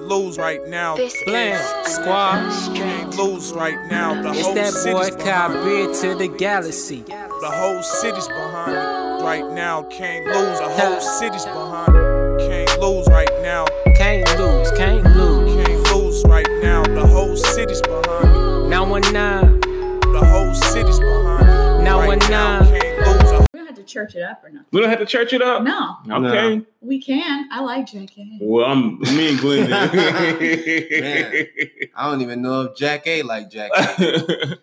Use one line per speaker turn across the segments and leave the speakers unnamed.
lose right now.
This
Blam,
is
squad.
Can't
strange.
lose right now. The
It's
whole
that
city's
boy
behind.
Kyrie to the galaxy.
The whole city's behind it right now. Can't lose. The whole city's behind it. Can't lose right now.
Can't lose, can't lose.
Can't lose right now. The whole city's behind it.
919.
The whole city's behind it.
Now
right
and
now.
now.
Can't lose. The
We don't have to church it up or nothing.
We don't have to church it up.
No,
Okay.
we can. I like JK.
Well, I'm me and Glenn.
Man. I don't even know if Jack A like Jack A.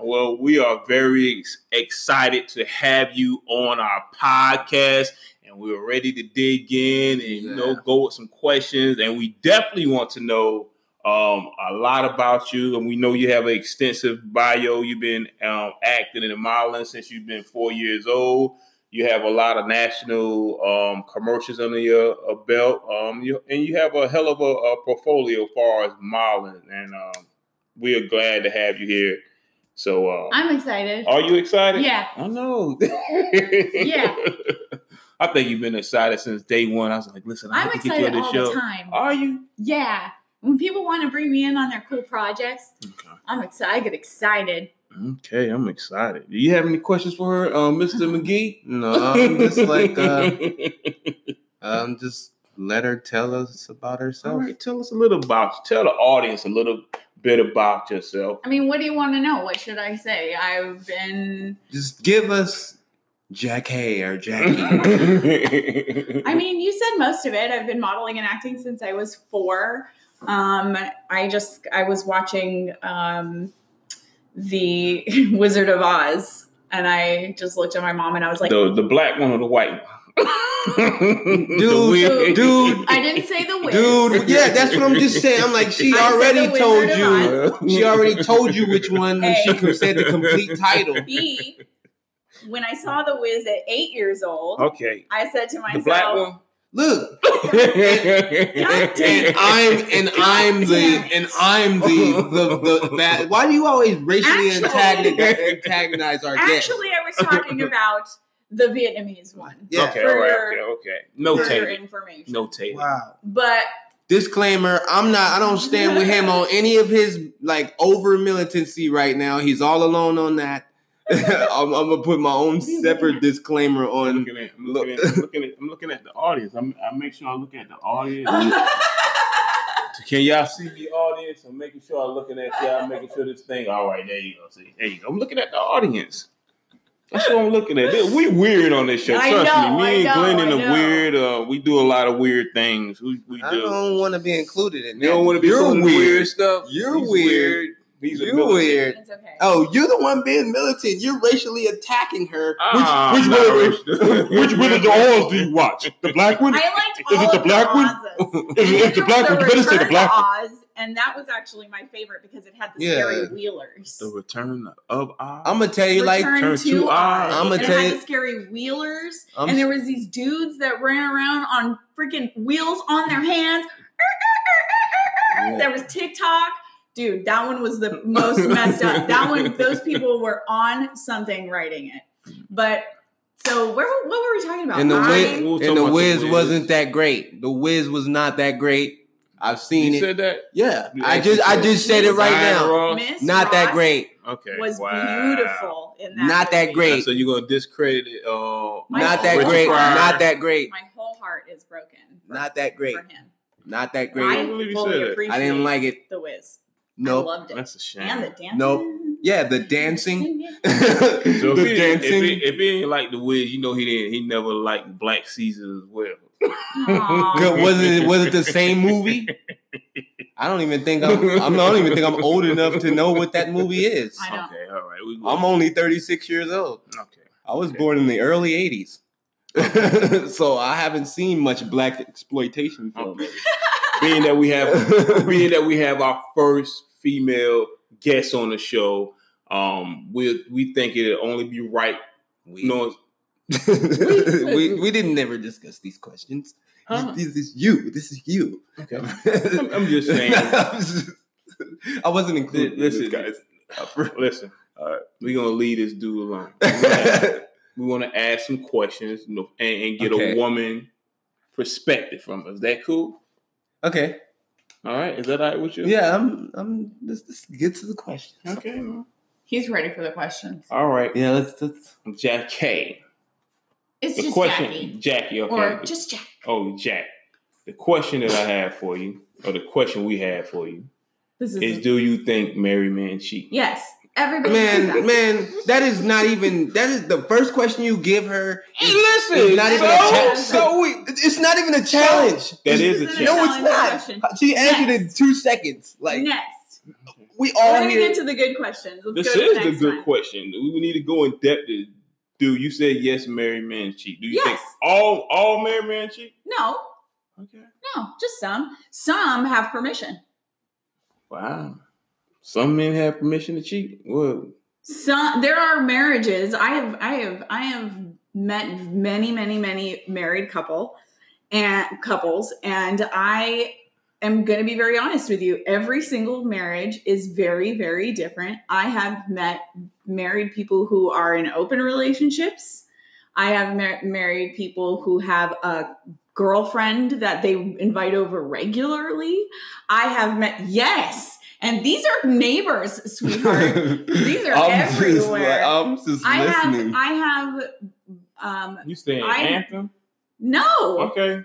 well, we are very ex- excited to have you on our podcast, and we're ready to dig in and you know
Yeah.
go with some questions. And we definitely want to know um, a lot about you, and we know you have an extensive bio. You've been um, acting in modeling since you've been four years old. You have a lot of national um, commercials under your uh, belt, um, you, and you have a hell of a, a portfolio as far as modeling. And um, we are glad to have you here. So, uh,
I'm excited.
are you excited?
Yeah.
I know.
Yeah.
I think you've been excited since day one. I was like, listen, I
I'm
have to get you
excited
on this
all
show.
the time.
Are you?
Yeah. When people want to bring me in on their cool projects,
Okay.
I'm excited. I get excited.
Okay, I'm excited. Do you have any questions for her, uh, Mr. McGee?
No, I'm just like, uh, um, just let her tell us about
All
herself.
right, tell us a little about tell the audience a little bit about yourself.
I mean, what do you want to know? What should I say? I've been.
Just give us Jack E. A or Jackie.
I
I mean, you said most of it. I've been modeling and acting since I was four. Um, I just I was watching um, the Wizard of Oz, and I just looked at my mom and I was like,
the the black one or the white one? The
dude,
weird-
dude,
I didn't say the wiz.
dude. Yeah, that's what I'm just saying. I'm like, she
I said
already
the
told
Wizard
you.
of
She already told you which one when she said the complete title.
B, when I saw the Wiz at eight years old,
Okay,
I said to myself,
the black one.
Look,
God
and
damn.
I'm and I'm the and I'm the the, the bad. Why do you always racially
Actually-
antagonize, antagonize our guests?
Actually, I was talking about the Vietnamese one.
Yeah.
Okay,
For
all right, okay,
your-
okay.
For your
Notated.
information.
Notated.
Wow.
But
Disclaimer: I'm not. I don't stand with him on any of his like over militancy right now. He's all alone on that. I'm, I'm gonna put my own separate disclaimer
I'm
on.
looking at, I'm looking at, I'm looking at, I'm looking at the audience. I'm, I make sure I look at the audience. Can y'all see the audience? I'm making sure I'm looking at y'all. I'm making sure this thing. All right, there you go. See, there you go. I'm looking at the audience. That's what I'm looking at. We weird on this show.
I
Trust
know,
me.
I
Me
know,
and Glenn in
I
the
know.
weird. Uh, we do a lot of weird things. We, we
I
do.
don't want to be included in that.
You don't want to be
You're
doing
weird.
stuff.
You're
These
weird.
These are
You're
militant.
weird.
it's okay.
Oh, you're the one being militant. You're racially attacking her.
Ah,
which which
not
one?
racial.
Which one of the Oz do you watch? The black one?
I
Is
liked all
Is it
of
the black one?
Oz's.
it, is the black one? You better say the
Return to
black one.
Oz, and that was actually my favorite because it had the
Yeah.
scary wheelers.
The return of Oz.
I'm gonna tell you like
Return
Turn to Oz.
I'ma
And it
tell
had
you-
the scary wheelers,
I'm-
and there was these dudes that ran around on freaking wheels on their hands. There was TikTok. Dude, that one was the most messed up. That one, those people were on something writing it. But so, where what were we talking about?
And the
I-
Wiz,
We'll talk
and the
about the
Wiz
Wiz.
wasn't that great. The Wiz was not that great. I've seen
you
it.
said that.
yeah,
You
I
actually
just I
said
just said it right
Diana
now.
Ross?
Miss
Not that
Ross
great.
Okay.
Was
wow.
beautiful in that.
Not that
movie.
great.
So you're gonna discredit it? Uh,
My
Not that
whole
great.
heart-
Not that great.
My whole heart is broken. for-
Not that great.
for him.
Not that
I
great.
believe you said
fully
that.
appreciate
I didn't like it.
the Wiz. I
Nope.
loved it.
That's a shame.
and the dancing.
Nope. Yeah, the dancing.
So
the
if, he, if,
dancing.
he, if he didn't like the Wiz, you know he didn't. He never liked Black Caesar as well.
Aw.
Good- was it was it the same movie? I don't even think I'm, I'm I don't even think I'm old enough to know what that movie is.
I know.
Okay, all right. We,
I'm only 36 years old.
okay.
I was
Okay.
born in the early 80s. so I haven't seen much black exploitation film.
Okay. being that we have, being that we have our first female guest on the show, um, we we think it'll only be right.
We,
You know,
we, we didn't never discuss these questions.
Huh?
This is you. This is you.
Okay. I'm, I'm just saying.
I wasn't included. in
Listen,
this,
Listen, we're gonna leave this dude alone.
guys.
we want to ask some questions you know, and, and get
Okay.
a woman perspective from us. That cool?
okay.
All right, is that all right with you?
Yeah, I'm. I'm. Let's, let's get to the question.
Okay. man.
He's ready for the questions.
All right,
Yeah, let's. let's
Jack K.
It's
The
just
question,
Jackie.
okay.
Or just Jack.
oh, Jack. The question that I have for you, or the question we have for you,
This is,
is: Do you think married men cheat?
yes. Everybody says that.
man, man, that is not even. That is the first question you give her.
Hey, listen,
It's not even a
so-
challenge. So we, it's not even a challenge.
That
This
is a
isn't
challenge.
no, it's
challenging
not. She answered in two seconds. Like
Next. We're
we all
going to
here.
get to the good questions. Let's
This
go to
is
the
the
next
good
one.
question. We need to go in depth. To, do you said yes, married men cheat? Do you think
Yes.
all all married men cheat?
No,
Okay.
no, just some. Some have permission.
Wow. Some men have permission to cheat. Well,
Some there are marriages. I have I have I have met many, many, many married couple and couples, and I am gonna be very honest with you. Every single marriage is very, very different. I have met married people who are in open relationships. I have mar- married people who have a girlfriend that they invite over regularly. I have met yes, and these are neighbors, sweetheart.
These
are
Just,
everywhere.
like, I'm just
I
listening.
have I have um
you saying
I-
anthem?
no.
Okay.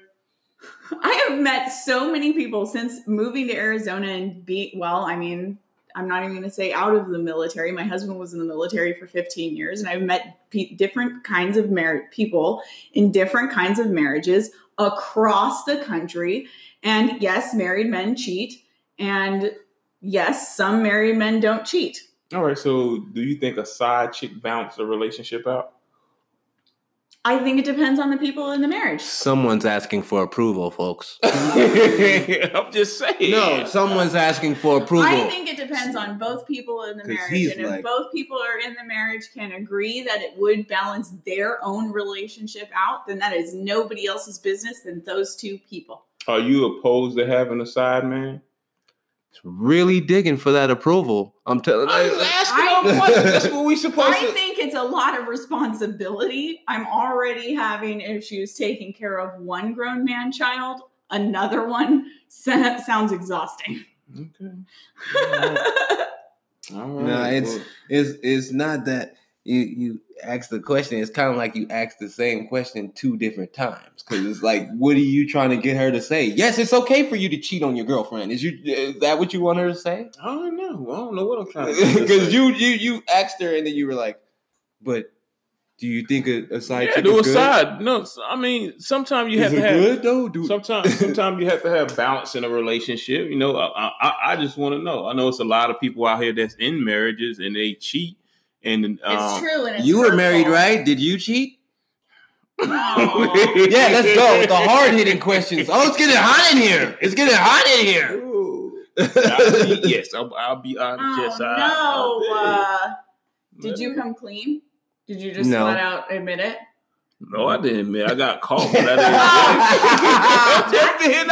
I have met so many people since moving to Arizona and be well, I mean, I'm not even going to say out of the military. My husband was in the military for 15 years and I've met pe- different kinds of married people in different kinds of marriages across the country. And yes, married men cheat and yes, some married men don't cheat.
All right. So, do you think a side chick bounce a relationship out?
I think it depends on the people in the marriage.
Someone's asking for approval, folks.
I'm just saying.
No, someone's asking for approval.
I think it depends on both people in the
'Cause
marriage.
he's
And if
like-
both people are in the marriage can agree that it would balance their own relationship out, then that is nobody else's business than those two people.
Are you opposed to having a side man?
really digging for that approval. I'm telling
asking
a question. That's what
we
I think it's a lot of responsibility. I'm already having issues taking care of one grown man child. Another one so- sounds exhausting.
Okay. All right.
No, it's it's it's not that you you ask the question. It's kind of like you ask the same question two different times because it's like, what are you trying to get her to say? Yes, it's okay for you to cheat on your girlfriend. Is you is that what you want her to say?
I don't know. I don't know what I'm trying to
Because you you you asked her and then you were like, but do you think a, a side
yeah,
chick
do a
is good?
side. No, s- I mean sometimes you
Is
have
it
to have.
good though? Do
Sometimes, sometimes you have to have balance in a relationship. You know, I, I, I just want to know. I know it's a lot of people out here that's in marriages and they cheat. And
it's
um,
true. And it's
you were
hurtful.
married, right? Did you cheat?
No. Oh,
Yeah, let's go with the hard hitting questions. Oh, it's getting hot in here. It's getting hot in here.
I cheat, yes, I'll, I'll be honest.
Oh
yes, I-
no! Uh,
I,
did you come clean? Did you just
No.
flat out admit it?
No, I didn't, man. I got caught. But I didn't.
Oh.
just being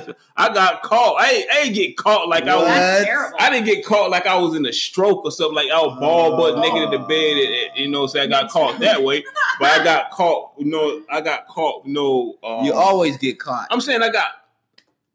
honest. I got caught. I ain't, I ain't get caught like I was.
That's
What?
terrible.
I didn't get caught like I was in a stroke or something. Like I was ball butt naked in the bed. And, and, you know, so I got caught that way. But I got caught. You know, I got caught. You no, know, um,
You always get caught.
I'm saying I got. I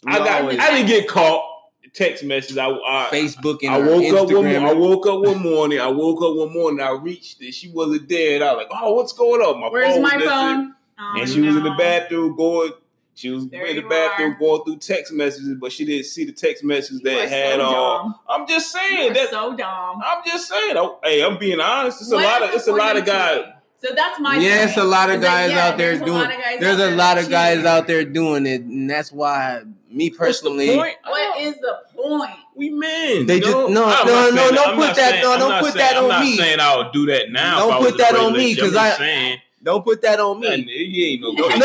You
got.
always-
I didn't get caught. Text messages. I. I
Facebook and
I woke up one.
Instagram.
mo- I woke up one morning. I woke up one morning. I reached it. She wasn't there. And I was like, "Oh, what's going on? My
Where's
phone
my
was missing.
phone? Oh,
And she was in the
no.
bathroom going. She was
There
in the
you
bathroom
are.
going through text messages, but she didn't see the text messages
You
that
are
had uh,
so
all.
dumb.
I'm just
You
saying
are
that.
so dumb.
I'm just saying. I, hey, I'm being honest. It's a
What
lot
is
of.
it
It's a
for
lot
you
of
to
guys.
do? So that's my.
yes,
thing.
a lot of
Is that,
guys
yeah,
out there
there's a
doing.
lot of guys out
There's a
there
lot
that
of guys
cheat.
out there doing it, and that's why me
What's the
personally.
point?
What is the point?
We men.
They
you
just-
know?
no,
I'm not
no, no,
saying
don't
I'm
put
not
that-
saying-
no,
I'm
don't
not
put
saying-
that on
I'm
me.
not saying I would do that now.
Don't
if I
put
was in a
that on me,
relationship.
'cause
I'm
I-
just saying
Don't put that on
nothing.
me.
He ain't no.
No, no.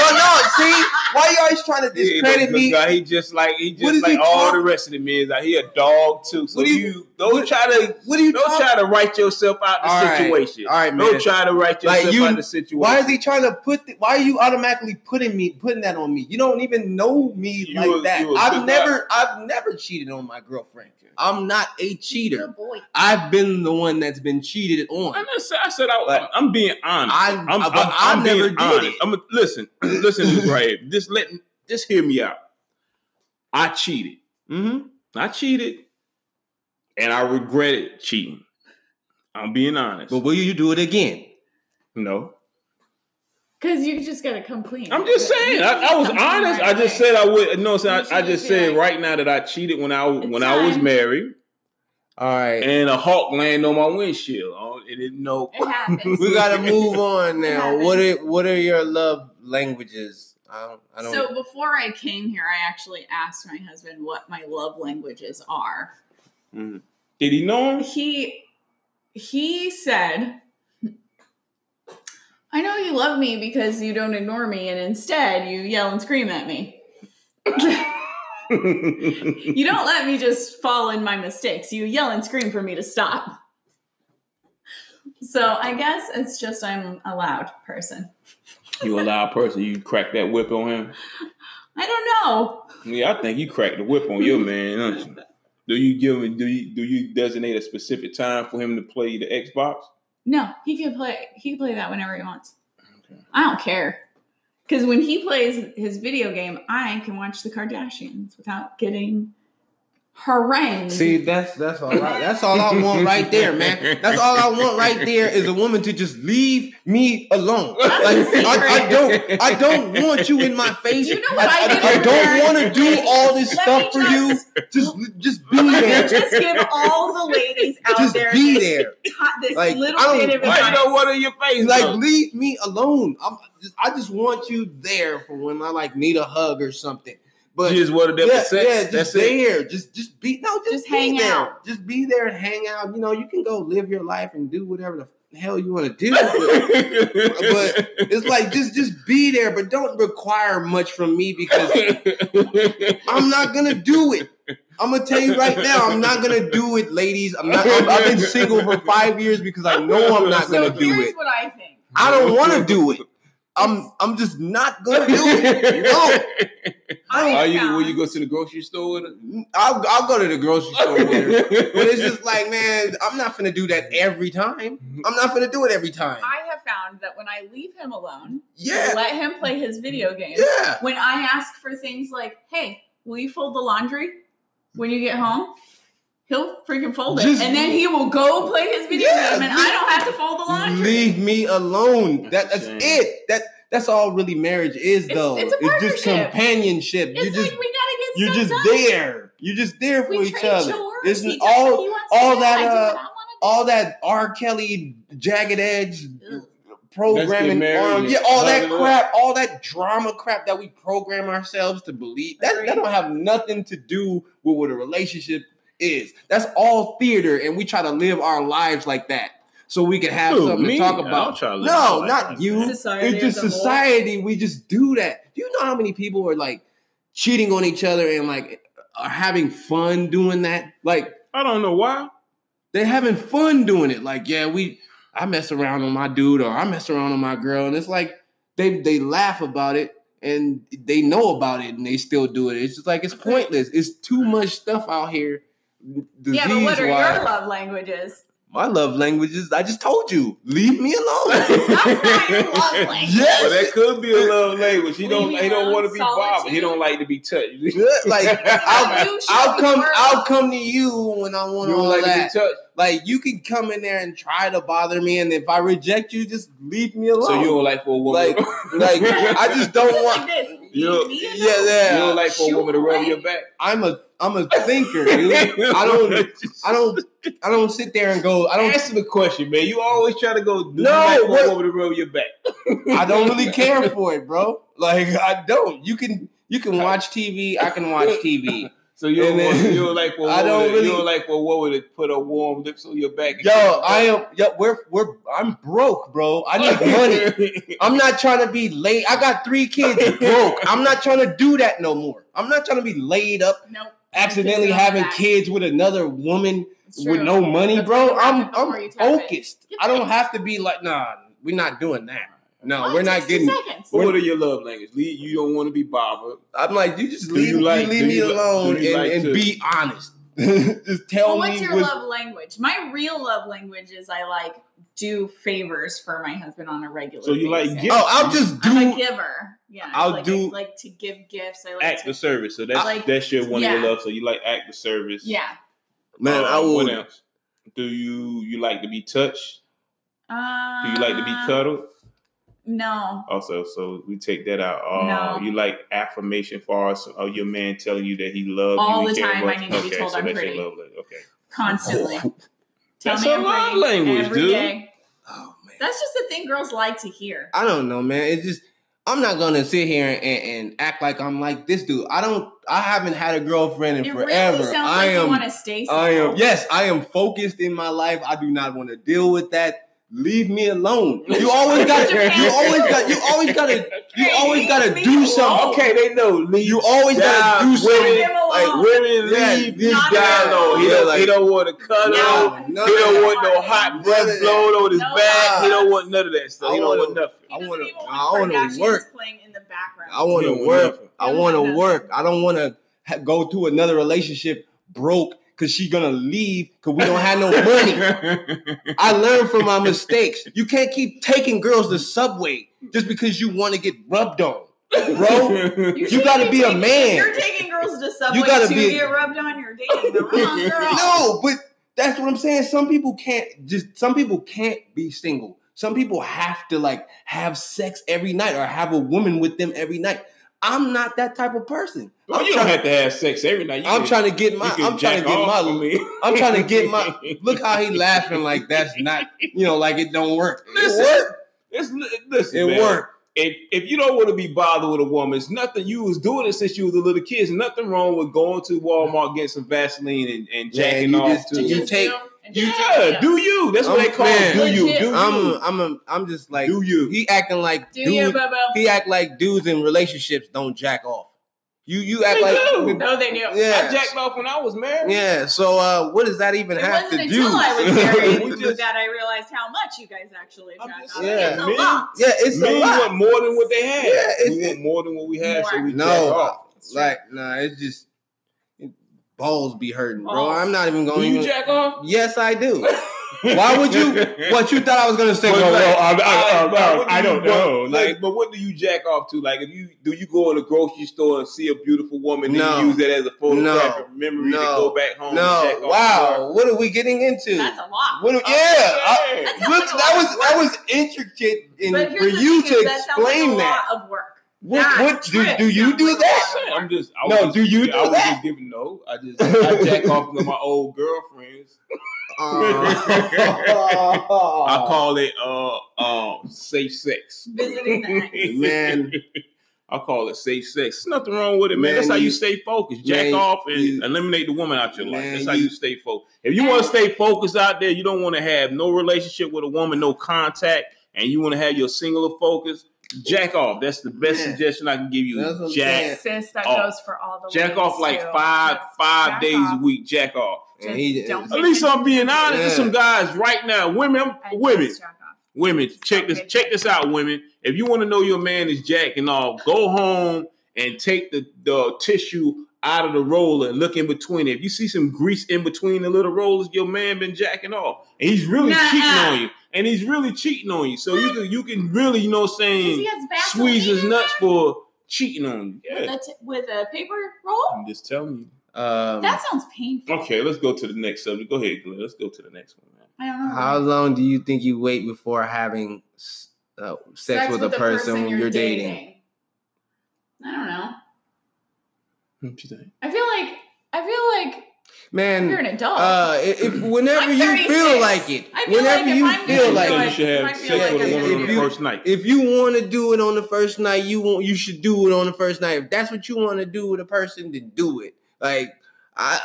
See, why you always trying to
Yeah,
discredit
no,
me?
no, He just like he
What
just
is
like
he
all
talk-
the rest of the men. Like he a dog too. So
What do
you,
you-
don't try to
What are you
don't
talking?
try to write yourself out the
All right.
situation.
All right,
Don't
man.
try to write
Like,
yourself
you-
out the situation.
Why is he trying to put? The, why are you automatically putting me putting that on me? You don't even know me
You
like
a-
that.
you a
I've
good
never, I've never cheated on my girlfriend. I'm not a cheater. I've been the one that's been cheated on.
I'm just, I said I,
But-
I'm, I'm being honest.
I-
I'm, I'm,
but
I'm,
I
being
never did
honest.
it.
I'm a, listen, listen to this right here. Just let just hear me out. I cheated. Mm-hmm. I cheated, and I regretted cheating. I'm being honest.
But will you do it again?
no,
Because you just got to come clean.
I'm just saying. I, I was
Something
honest. I
right
just
away.
said I would. No, so
You should
I, I just
just be
said
like-
right now that I cheated when I when I was
time.
married,
All right.
and a hawk landed on my windshield. Oh, it didn't know.
It happens.
we gotta move on now.
happens.
What are what are your love languages? I don't. I don't
So before I came here, I actually asked my husband what my love languages are.
Did he know him?
He he said, "I know you love me because you don't ignore me, and instead you yell and scream at me. You don't let me just fall in my mistakes. You yell and scream for me to stop." So I guess it's just I'm a loud person.
you a loud person. You cracked that whip on him.
I don't know.
Yeah, I think you cracked the whip on your man. don't you? Do you give him? Do you do you designate a specific time for him to play the Xbox?
No, he can play. He can play that whenever he wants. I don't care. Because when he plays his video game, I can watch the Kardashians without getting harangued.
See, that's that's all. I, that's all I want right there, man. That's all I want right there is a woman to just leave me alone. Like I, I don't, I don't want you in my face.
You know what I did
I,
for
don't
her?
want to do all this
Let
stuff for
me
you.
just-
Just, just be there.
just give all the ladies out
Just
there
be
this,
there.
ti- this
Like, I
little
don't-
bit of
why
advice.
you know
in your face?
like leave me alone. I'm just, I just want you there for when I like need a hug or something. But
just wanted them
yeah,
for sex.
yeah, just
That's it.
there. Just just be no, just,
Just
be
hang
there.
out.
Just be there and hang out. You know, you can go live your life and do whatever the hell you want to do. But but it's like just just be there, but don't require much from me because I'm not gonna do it. I'm gonna tell you right now, I'm not gonna do it, ladies. I'm not. I'm, I've been single for five years because I know I'm not
so
gonna do
here's
it.
what I think.
I don't want to do it. I'm I'm just not gonna do it. No.
I
Are you
found-
will you go to the grocery store with her?
I'll, I'll go to the grocery store with her. But it's just like, man, I'm not gonna do that every time. I'm not gonna do it every time.
I have found that when I leave him alone,
Yeah,
let him play his video game.
yeah.
When I ask for things like, "Hey, will you fold the laundry when you get home?" He'll freaking fold it,
Just-
and then he will go play his video
Yeah,
game, and I don't have to fold the laundry.
Leave me alone. That, that's
That's a shame.
it. That that's all really marriage is,
It's-
though.
it's a
just
partnership.
companionship.
It's
you just
like we gotta get.
you're
stuff
just
done.
there. You're just there for
We
each
trade
other.
chores.
This
He
is
does what
all
he wants
all
to do.
that,
I do
uh,
what I wanna do.
all that R. Kelly jagged edge
Ugh.
programming
married
arm,
and
yeah, all that
hug it up.
crap, all that drama crap that we program ourselves to believe. That, that
Agreed.
don't have nothing to do with what a relationship is. That's all theater, and we try to live our lives like that. So we can have
Who,
something
me?
to talk
I don't
about.
try to live my
no,
life
not
like
you.
that.
Society
it's just
as a whole.
society. We just do that. Do you know how many people are like cheating on each other and like are having fun doing that? Like
I don't know why.
they're having fun doing it. Like, yeah, we I mess around on my dude or I mess around on my girl. And it's like they they laugh about it and they know about it and they still do it. It's just like it's pointless. It's too much stuff out here.
Yeah, but what are your
disease-wise.
love languages?
My love languages, I just told you. Leave me alone.
That's not your love language.
Well, that
yes.
could be a love language. He
Leave
don't.
me
He don't
alone,
want to be bothered. He
solitude.
don't like to be touched. You
Good. Like I'll,
You show
I'll
me
come
your
I'll
love.
come to you when I want
don't
all
like
that.
to be touched.
Like you can come in there and try to bother me, and if I reject you, just leave me alone.
So you don't like for a woman.
like like I just don't
Just like
want.
this.
You-
Me
Yeah,
and you.
you
yeah.
don't like for a
Shoot
woman to rub
away.
your back.
I'm a I'm a thinker, dude. I don't I don't I don't sit there and go. I don't
Answer the question, man. You always try to go. Do
No,
no, you like for
what-
a woman to rub your back.
I don't really care for it, bro. Like I don't. You can you can watch TV. I can watch TV.
So you don't,
And
want,
then-
you don't like for a woman
I don't
to,
really-
you don't like for a woman to put a warm lips on your back. and
Yo,
kiss your
I
butt.
am. Yo, we're we're. I'm broke, bro. I need money. I'm not trying to be late. I got three kids. Broke. I'm not trying to do that no more. I'm not trying to be laid up,
Nope.
accidentally
Kiss her on the
having
back.
kids with another woman.
It's
with
true.
no money,
That's
bro.
what you
I'm
have before
I'm
you tap it.
focused.
Get
I don't
paid.
have to be like, nah, we're not doing that. No,
Only
we're not
Oh, takes two
getting.
seconds.
But what are your love languages? Lee, You don't want to be bothered.
I'm like, you just
Do
leave,
you like-
you leave
do
me
you li-
alone
do you
and,
like
and
to-
be honest. just tell
Well, what's
me
your
what's-
love language? My real love language is I like do favors for my husband on a regular.
So you like
basis.
gifts?
Oh, I'll just do.
I'm a giver. Yeah, I
I'll
like,
do-
I like to give gifts. I like
act
to,
of service. So that's
Like,
that's your one of
yeah.
your love. So you like act of service.
yeah.
man,
Um,
I
What
will.
else? Do you you like to be touched?
Uh,
Do you like to be cuddled?
No,
Also, so we take that out. Oh,
No.
you like affirmation for us? Oh, your man telling you that he loves
All
you. he
the
care
time I
about you.
need to be
Okay,
told
so
I'm
that's your
pretty.
love language. Okay.
constantly. Tell
That's
me
a
I'm
love
pretty
language,
every
dude.
day.
Oh man.
That's just the thing girls like to hear.
I don't know, man. It's just I'm not gonna sit here and, and act like I'm like this dude. I don't. I haven't had a girlfriend in
It
forever.
really sounds
I
like you
am.
want to stay.
I am.
single.
Yes, I am focused in my life. I do not want to deal with that. Leave me alone. You always got. to You always got. You always got to. You always got to
Leave
do
me
something.
alone.
Okay, they know. Leave
You always got to do
Yeah,
something.
Leave him alone.
like women
Yeah,
leave
this
this
Not
guy
at all.
alone. He
Yeah,
don't,
like-
he don't want to cuddle.
No.
no,
He
no,
don't
no.
want no hot
None
breath
of that.
blown on his
No.
back. He don't want none of that stuff.
I
He don't
wanna-
want nothing.
He doesn't
I wanna-
even
I wanna
Kardashians
work.
playing in the background.
I want
Yeah,
to
we
work.
nothing.
I
Yeah,
want to
nothing.
work. I don't want to ha- go to another relationship broke because she gonna leave because we don't have no money. I learned from my mistakes. You can't keep taking girls to Subway just because you want to get rubbed on, bro.
You're
You gotta
taking-
be a
if
man.
You're taking girls to subway you
gotta
to
be-
get rubbed on. You're dating the wrong girl.
No, but that's what I'm saying. Some people can't just. Some people can't be single. Some people have to like have sex every night or have a woman with them every night. I'm not that type of person.
Well,
I'm
Oh, you don't
trying-
have to have sex every night. You
I'm
can-
trying to get my.
you can
I'm trying to
jack
get
off for
my.
me.
I'm trying to get my. Look how he laughing like that's not. You know, like it don't work.
Listen,
it worked.
It's, li- listen,
It
man.
worked.
If if you don't want to be bothered with a woman, it's nothing. You was doing it since you was a little kid. There's nothing wrong with going to Walmart, getting some Vaseline, and, and
Yeah,
jacking
you
off.
just-
to
you
it.
Just
take-
do and
yeah,
just
do you? That's what
I'm-
they call
man.
it. do you? Do you?
I'm. A, I'm. A, I'm just like.
do you?
He acting like
Do
dude.
you, Bobo?
He act like dudes in relationships don't jack off. You. You act
They
like. Oh,
do.
No, they do.
I
Yeah.
jacked off when I was married.
Yeah. So uh, what does that even
It
have to
wasn't
do?
until I was
We
married
just-
that I realized how much you guys actually
I'm
jack
just
off.
saying,
It's a
men-
lot.
yeah. It's a
Men
lot.
want more than what they had.
Yeah, it's-
we want more than what we had, so
More.
we jack
No.
off.
Like nah. It's just. Balls be hurting, bro.
Balls.
I'm not even going.
Do you
even-
jack off?
yes, I do. Why would you? What you thought I was gonna say?
But
was,
like,
I- I- I-
what do
I
you
don't
want-
know,
Like,
like-
but what do you jack off to? Like, if you do you go in the grocery store and see a beautiful woman,
No.
then you use that as a photographic
No.
memory to
No.
go back home. And
No,
jack off
wow. What are we getting into?
That's a lot.
What? Are, yeah,
for.
I-
Okay.
That's
look, that was that was intricate in,
But
for
here's the
you
thing,
to
is that sounds like a
explain that.
lot of work.
What? What do,
That
do you
sounds
do
like a
that?
lot of work.
I'm just. I
No,
was just-
do you do
I was
that?
just giving no. I just I jack off to my old girlfriends.
Aw.
I call it uh uh safe sex.
Visiting the ex.
man.
I call it safe sex. There's nothing wrong with it, man.
Man,
That's how you,
you-
stay focused. Jack
man,
off and
you-
eliminate the woman out your life.
man,
That's how
you-
you, stay focused. If you want
And-
to stay focused out there, you don't want to have no relationship with a woman, no contact, and you want to have your singular focus. Jack off. That's the best
Man.
suggestion I can give you.
That's what I'm
Jack,
saying.
Sis, that
off.
Oh.
goes for all the
jack
ladies,
off like
too.
five
Just
five
jack
days
off.
a week. Jack off.
And he-
Just don't
At least I'm being honest. There's
Yeah.
some guys right now, women, I'm-
And
women,
just jack off.
Women, check this check this out, women. If you want to know your man is jacking off, go home and take the, the tissue out of the roller and look in between it. If you see some grease in between the little rollers, your man been jacking off. And he's really
Nuh-uh.
cheating on you. And he's really cheating on you. So you can you can really, you know what I'm
'Cause he
Mm.
saying,
has Vaseline
squeeze his
in
nuts
there?
for cheating on you.
with
Yeah.
a, t- with a paper roll?
I'm just telling you.
Um,
That sounds painful.
Okay, let's go to the next subject. Go ahead, Glenn. Let's go to the next one, man.
I don't know.
how long do you think you wait before having s- uh, sex, with, a
the
person, you're, dating?
I don't know.
What you think?
I feel like I feel like
Man,
you're an adult.
uh, if, if whenever
I'm
you
36.
feel like it,
I feel
whenever
like if
you
I'm
feel
gonna
like
do
you
it,
it,
should
I
have
feel
sex
like
with
I'm
a woman on
gonna
the
do it.
first night.
if you want to do it on the first night, you want you should do it on the first night. If that's what you want to do with a person, then do it. Like I,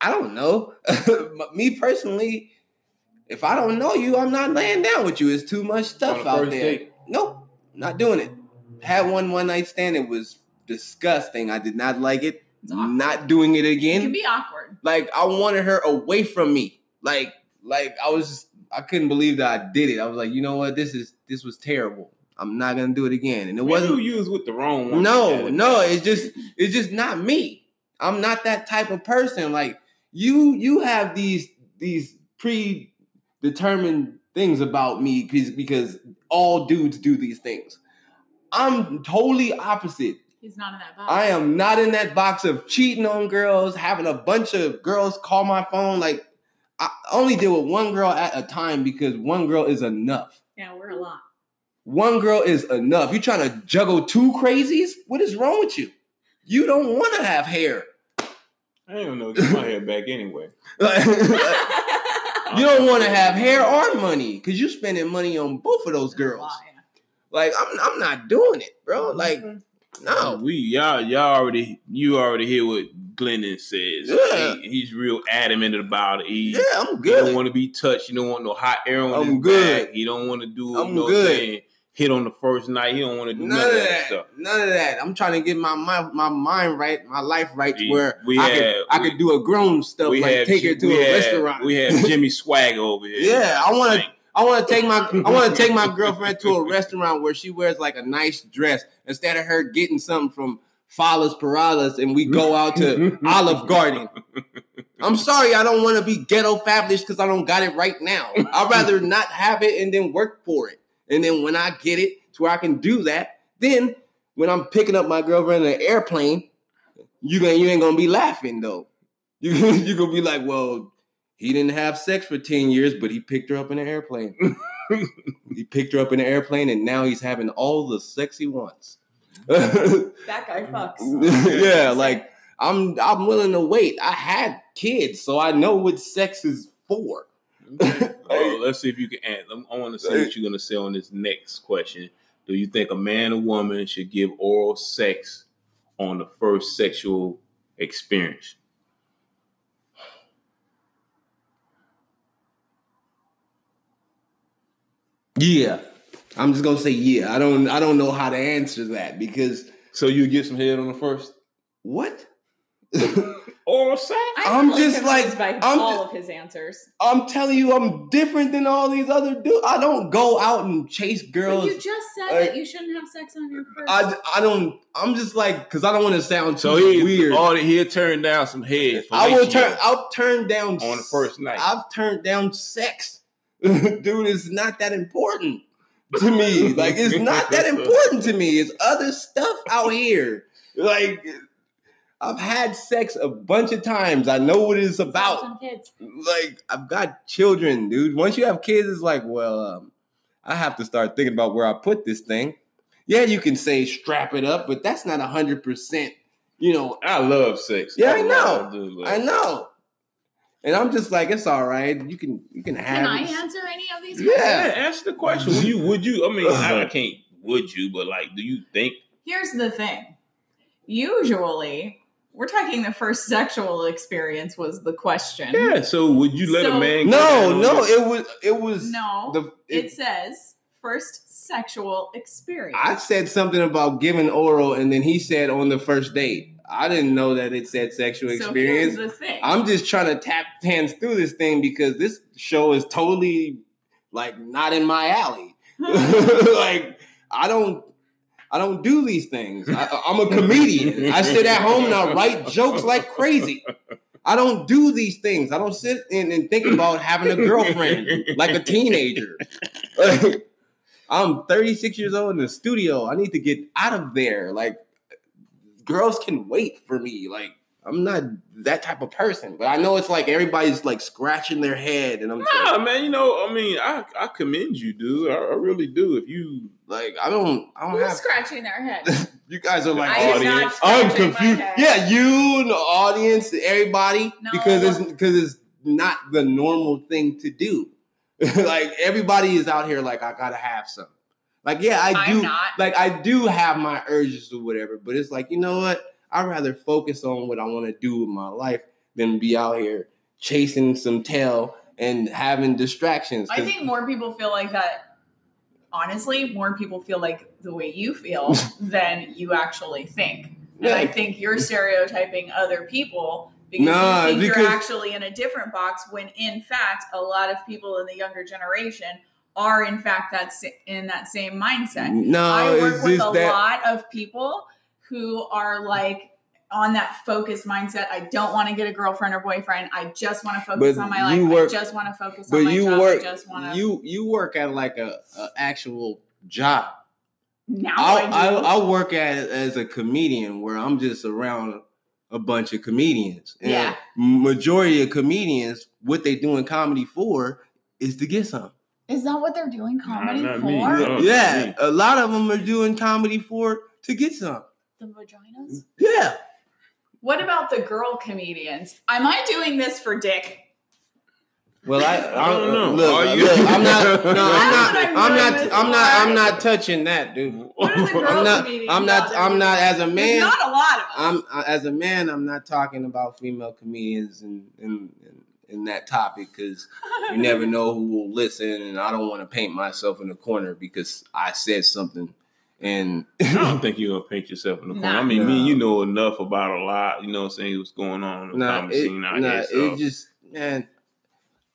I don't know. Me personally, if I don't know you, I'm not laying down with you. It's too much
On
stuff
the
out
first
there.
date.
Nope, not doing it. Had one one night stand. It was disgusting. I did not like it.
It's awful.
Not doing it
it
again
can be awkward.
like I wanted her away from me. Like like I was just I couldn't believe that I did it. I was like, you know what, this is this was terrible. I'm not gonna do it again. And it
It wasn't
wasn't
you was with the wrong one.
no, no, it's just it's just not me. I'm not that type of person. Like you you have these these predetermined things about me because because all dudes do these things. I'm totally opposite.
He's not in that box.
I am not in that box of cheating on girls, having a bunch of girls call my phone. Like I only deal with one girl at a time because one girl is enough.
Yeah, we're a lot.
One girl is enough. You trying to juggle two crazies? What is wrong with you? You don't want to have hair.
I don't know. Get my hair back anyway.
you don't want to have hair or money because you're spending money on both of those
We're a
girls.
lot, yeah.
Like I'm, I'm not doing it, bro. Like
Oh,
no,
we y'all y'all already you already hear what Glennon says.
Yeah.
He- he's real adamant about it. He,
yeah, I'm
he don't
good.
want to be touched. He don't want no hot air on
I'm
his
good.
back. He don't want to do
I'm
you know what
good.
saying, hit on the first night. He don't want to do
None
none,
of
that
that.
stuff.
None of that. I'm trying to get my my, my mind right, my life right to
We-
where
we
I could
have-
I could do a grown stuff like take her
Ji-
to
we
a
have-
restaurant.
We have Jimmy Swagger over here.
Yeah, I wanna-
Like,
I want to take my I want to take my girlfriend to a restaurant where she wears like a nice dress instead of her getting something from Fallas Paralas and we go out to Olive Garden. I'm sorry, I don't want to be ghetto fabulous because I don't got it right now. I'd rather not have it and then work for it. And then when I get it to where I can do that, then when I'm picking up my girlfriend in an airplane, you gonna you ain't gonna be laughing though. You you gonna be like, well, he didn't have sex for 10 years, but he picked her up in an airplane. he picked her up in an airplane and now he's having all the sex he wants.
That guy fucks.
yeah, like I'm I'm willing to wait. I had kids, so I know what sex is for.
oh, let's see if you can answer. I'm- I want to see what you're gonna say on this next question. Do you think a man or woman should give oral sex on the first sexual experience?
Yeah. I'm just gonna say yeah. I don't I don't know how to answer that because
So you get some head on the first
what?
oral sex?
I'm just like-
confused by
I'm
all
ju-
of his answers.
I'm telling you, I'm different than all these other dudes. I don't go out and chase
But
girls.
you just said
I-
that you shouldn't have sex on your first.
I, I don't. I'm just like because I don't want to sound
So
too
he
weird.
weird. All he'll turn down some head.
I will turn.
out
I'll turn down
on the first night.
I've turned down sex, dude. It's not that important to me. Like it's not that important to me. It's other stuff out here. Like I've had sex a bunch of times. I know what it's about
some kids.
like I've got children, dude. Once you have kids, it's like, well, um, I have to start thinking about where I put this thing. Yeah, you can say strap it up, but that's not hundred percent. You know,
I love sex.
Yeah, I
love-
know.
do love
I know, and I'm just like, it's all right. You can you can have.
Can I
it.
answer any of these?
Yeah.
Yeah, ask the question. Would you? Would you? I mean, I, I can't. Would you? But like, do you think?
Here's the thing. Usually, we're talking the first sexual experience was the question.
Yeah. So would you let
So-
a man? go
No,
down
no,
on
it was it was
No,
The,
it,
it,
says first sexual experience.
I said something about giving oral, and then he said on the first date. I didn't know that it said sexual
So
experience.
here's the thing.
I'm just trying to tap hands through this thing because this show is totally like not in my alley. like I don't I don't do these things. I, I'm a comedian. I sit at home and I write jokes like crazy. I don't do these things. I don't sit in and think about having a girlfriend like a teenager. I'm 36 years old in the studio. I need to get out of there. Like girls can wait for me. Like I'm not that type of person. But I know it's like everybody's like scratching their head, and I'm just
Nah,
like,
man. You know, I mean, I I commend you, dude. I, I really do. If you
like, I don't, I don't
Who's
have.
scratching their head?
You guys are like
I am
audience.
not
I'm
scratching my
confused.
head.
Yeah, you and the audience, everybody,
No.
because it's because it's not the normal thing to do. like everybody is out here, like I gotta have some. Like yeah, I
I'm
do.
not.
Like I do have my urges or whatever, but it's like you know what? I'd rather focus on what I want to do with my life than be out here chasing some tail and having distractions.
I
'Cause-
think more people feel like that. Honestly, more people feel like the way you feel than you actually think. And I
Yeah.
think you're stereotyping other people because
Nah,
you think
because-
you're actually in a different box when in fact a lot of people in the younger generation are in fact that's in that same mindset.
no,
I work
it's
with
just
a
that.
lot of people who are like on that focus mindset. I don't want to get a girlfriend or boyfriend. I just want to focus
But
on my
you
life.
work-
I just want to focus
But
on my
you
job.
work
I just want to.
you you work at like a, a actual job.
now
I I,
do.
I work at as a comedian where I'm just around a bunch of comedians. And
Yeah.
Majority of comedians, what they do in comedy for is to get some.
Is that what they're doing comedy
not
for?
me. No. Oh,
yeah,
yeah.
a lot of them are doing comedy for to get some.
The vaginas?
Yeah,
What about the girl comedians? Am I doing this for dick?
Well, I,
I don't know. Are
Look,
you-
look, I'm not. No, I'm
That's what
not. I'm
I'm
not.
doing this
I'm not.
for.
I'm not touching that, dude.
What are the girl
I'm not.
comedians?
I'm not.
out there
I'm not.
doing?
As a
There's
man,
not a lot of them.
I'm I- as a man. I'm not talking about female comedians and and and- and that topic because you never know who will listen, and I don't want to paint myself in a corner because I said something, and
I don't think you're gonna paint yourself in the corner.
Nah.
I mean, me,
Nah.
and you know enough about a lot. You know, what I'm saying what's going on in the
nah,
comedy
it,
scene out
nah,
here.
it
So.
just man.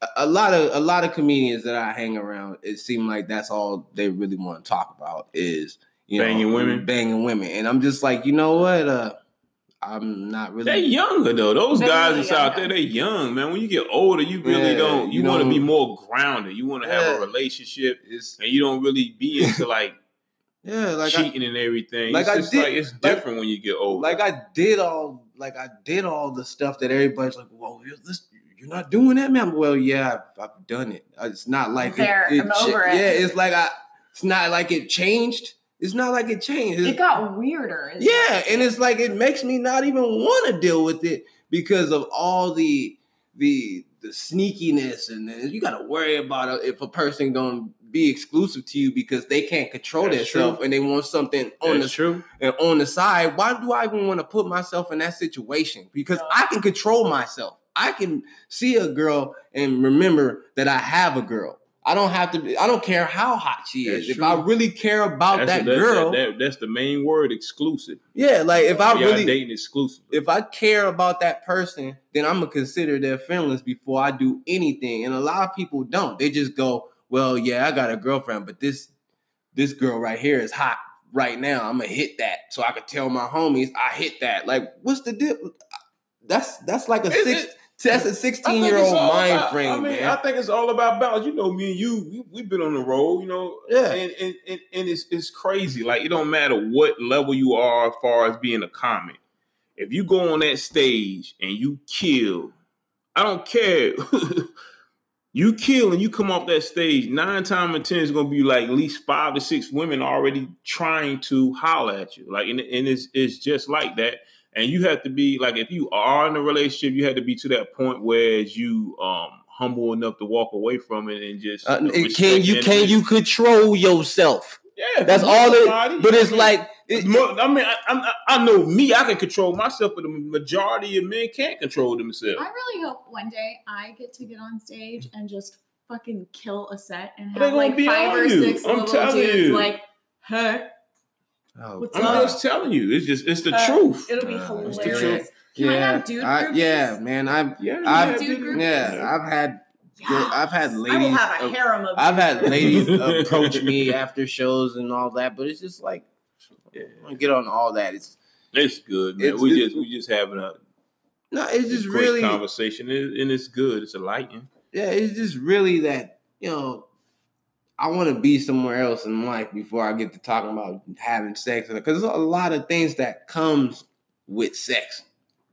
a- A lot of a lot of comedians that I hang around, it seemed like that's all they really want to talk about is you
Banging
know,
women?
banging women, and I'm just like, you know what? Uh, I'm not really.
they younger though. Those
They're
guys
really
that's out there,
younger.
they young man. When you get older, you really
Yeah,
don't. You,
you
want to
don't-
be more grounded. You want to have
Yeah.
a relationship,
It's,
and you don't really be into like
yeah, like I,
cheating and everything.
like
it's
I
just
did-
like it's
like-
different when you get older.
like I did all like I did all the stuff that everybody's like, well, you're, this, you're not doing that, man. Well, yeah, I've, I've done it. Uh, It's not like
There,
it,
I'm
cha-
over it.
Yeah, it's like I. It's not like it changed. It's not like it changed. It's-
it got weirder. is it?
Yeah, and it's like it makes me not even want to deal with it because of all the the the sneakiness and then you got to worry about if a person going to be exclusive to you because they can't control
That's
themselves and they want something on
that's true.
the and on the side. Why do I even want to put myself in that situation? Because I can control myself. I can see a girl and remember that I have a girl. I don't have to. Be, I don't care how hot she
That's
is. If
true.
I really care about
That's-
that
that's-
girl,
that- that- that's the main word, exclusive.
yeah, like if I
Y'all
really
dating exclusive.
if I care about that person, then I'm gonna consider their feelings before I do anything. And a lot of people don't. They just go, "Well, yeah, I got a girlfriend, but this this girl right here is hot right now. I'm gonna hit that so I could tell my homies I hit that." Like, what's the dip? That's that's like a
Is
six.
it-
that's a
I think
16 year old
it's all
mind
about-
frame,
I mean,
man. Uh,
I think it's all about balance. You know, me and you, we, we've been on the road, you know,
Yeah.
and, and, and, and it's, it's crazy. Like, it don't matter what level you are as far as being a comic. If you go on that stage and you kill, I don't care. you kill and you come off that stage, nine times out of ten is going to be like at least five to six women already trying to holler at you. Like, and, and it's, it's just like that and you have to be like if you are in a relationship you have to be to that point where you um humble enough to walk away from it and just
Uh,
you know,
and can
respect
you
and-
can you control yourself?
yeah
That's
if
all.
you
It,
somebody,
but
I
it's
mean,
like it,
mo- I mean, I, I, I know me. I can control myself, but the majority of men can't control themselves.
I really hope one day I get to get on stage and just fucking kill a set and
They
have
gonna
like
be
five
on
or
you.
six
I'm
little
telling
dudes
you.
like, huh?
Oh,
What's
I'm
up?
just telling you. It's just it's the
Uh,
truth.
It'll be
Uh,
it's the
hilarious.
truth.
Can I
yeah,
have dude
I-
groupies?
yeah, man. I've
Yeah,
I've-
yeah,
Dude group
yeah, I've had Yeah, I've had
Yes. I will
ladies-
have a harem of.
I've
dude
had
groupies.
ladies approach me after shows and all that, but it's just like I don't get on all that. It's
it's good. Man.
It's-
we
it's-
just we just having a
no, it's just
great
really
conversation, and and it's good. It's enlightening.
yeah, it's just really that you know I want to be somewhere else in life before I get to talking about having sex because there's a lot of things that comes with sex.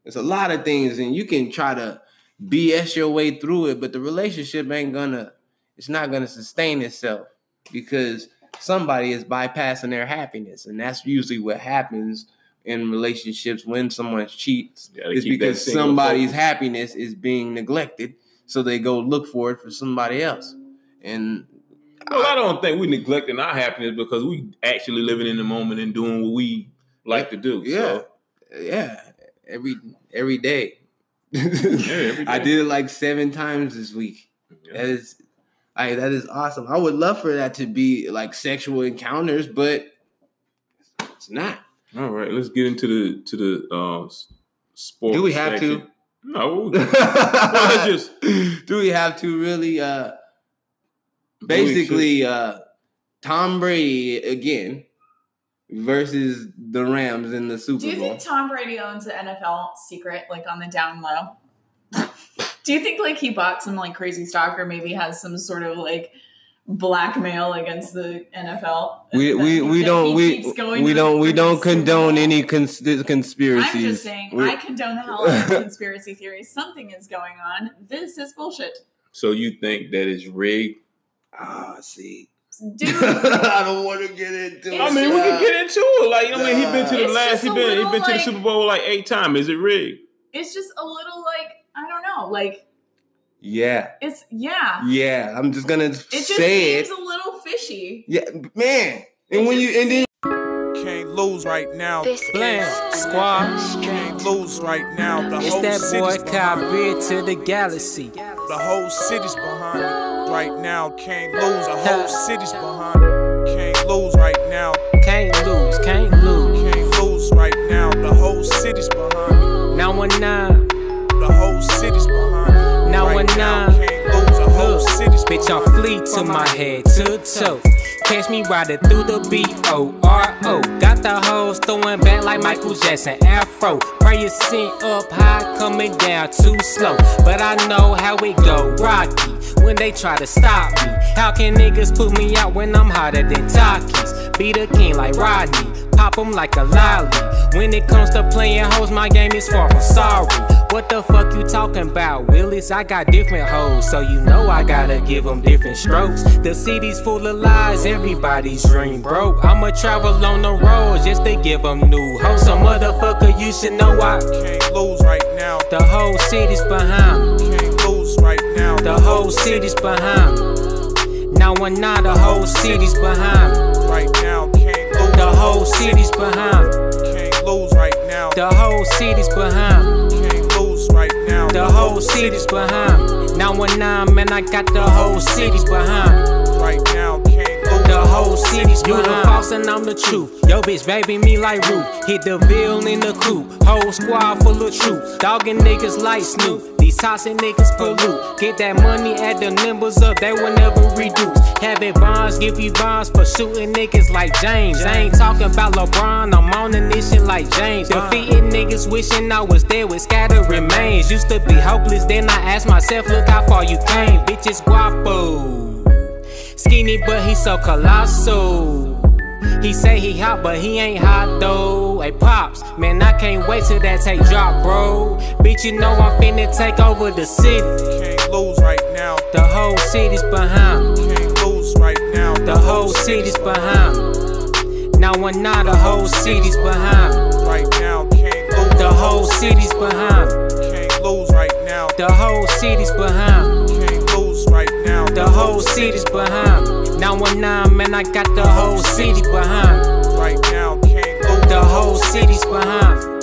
There's a lot of things, and you can try to BS your way through it, but the relationship ain't gonna it's not gonna sustain itself because somebody is bypassing their happiness, and that's usually what happens in relationships when someone cheats.
Gotta
It's
keep that
because
single
somebody's
focus.
happiness is being neglected, so they go look for it for somebody else, and
Well, I don't think we neglecting our happiness because we actually living in the moment and doing what we like to do.
Yeah,
So,
yeah. Every every day.
every
I
day.
did it like seven times this week.
yeah.
That is, I that is awesome. I would love for that to be like sexual encounters, but it's not.
All right, let's get into the to the uh, s- sports.
Do we have
section.
to?
No. Well,
Do
just
we have to really? uh
we should-
Basically, uh Tom Brady again versus the Rams in the Super
Do you
Bowl.
think Tom Brady owns the NFL secret, like on the down low? Do you think like he bought some like crazy stock, or maybe has some sort of like blackmail against the NFL?
we
that
we,
he-
we
that
don't
he
we
keeps going
we
to
don't we
freaking
don't
Super
condone
Bowl?
any cons- conspiracies.
I'm just saying,
We-
I condone the hell out of conspiracy theories. Something is going on. This is bullshit,
So you think that it's rigged?
Ah, see,
dude.
I don't want to get into.
I
I
it.
mean, we can get into it. Like, I mean, he been to the
uh, It's
last.
just
He
a
been he
little,
been to the
like-
Super Bowl like eight times. Is it rigged?
it's just a little like I don't know, like
Yeah,
it's yeah.
yeah. I'm just gonna
It just
say
seems
it.
a little fishy.
Yeah, man. And when
just
you and then
Can't lose right now.
Bland squad.
Can't lose right now. The
It's
whole
that boy
city's behind.
Kyrie to the galaxy.
The whole city's behind it right now. Can't lose. The whole city's behind it. Can't lose right now.
Can't lose, can't lose.
Can't lose right now. The whole city's behind it.
919.
The whole city's behind it.
Now
right
and
now.
now.
Can't lose. The whole
Look,
city's
Bitch, I
behind it.
flee to my head to toe. Catch me riding through the B O R O. Got the hoes throwing back like Michael Jackson, Afro. Pray you sing up high, coming down too slow. But I know how it go, Rocky. When they try to stop me, how can niggas put me out when I'm hotter than Takis? Be the king like Rodney pop 'em like a lolly. When it comes to playing hoes, my game is far from sorry. What the fuck you talking about, Willis? I got different hoes, so you know I gotta give 'em different strokes. The city's full of lies, everybody's dream broke. I'ma travel on the road just to give 'em new hoes. So motherfucker, you should know I.
Can't lose right now.
The whole city's behind me.
Can't lose right now.
The whole city's behind me. Now we're not the whole city's behind me.
right now. Can't lose.
The whole city's behind me.
Can't lose right now.
The whole city's behind me.
Can't lose right now.
The whole city's behind me. Now when I'm man, I got the whole city's behind me.
right now. Can't lose.
The whole city's
You
behind
the
me. false and I'm the truth. Yo, bitch, baby, me like Root. Hit the bill in the coop. Whole squad full of troops. Dogging niggas like Snoop. These toxic niggas pollute. Get that money, add the numbers up. They will never reduce. Having bonds, give you bonds for shooting niggas like James. I ain't talking about LeBron. I'm on the mission like James. Defeating niggas, wishing I was there with scattered remains. Used to be hopeless, then I asked myself, look how far you came. Bitch, it's guapo. Skinny, but he so colossal. He say he hot, but he ain't hot though. Hey pops, man, I can't wait till that tape drop, bro. Bitch, you know I'm finna take over the city.
Can't lose right now.
The whole city's behind me.
Can't lose right now.
The whole city's behind me. Now when now the whole city's behind me.
right now. Can't lose.
The whole city's behind me.
Can't lose right now.
The whole city's behind me.
Can't lose right now.
The whole city's behind me. Now when I'm man, I got the whole city behind me.
right now. Can't lose.
The whole city's behind me.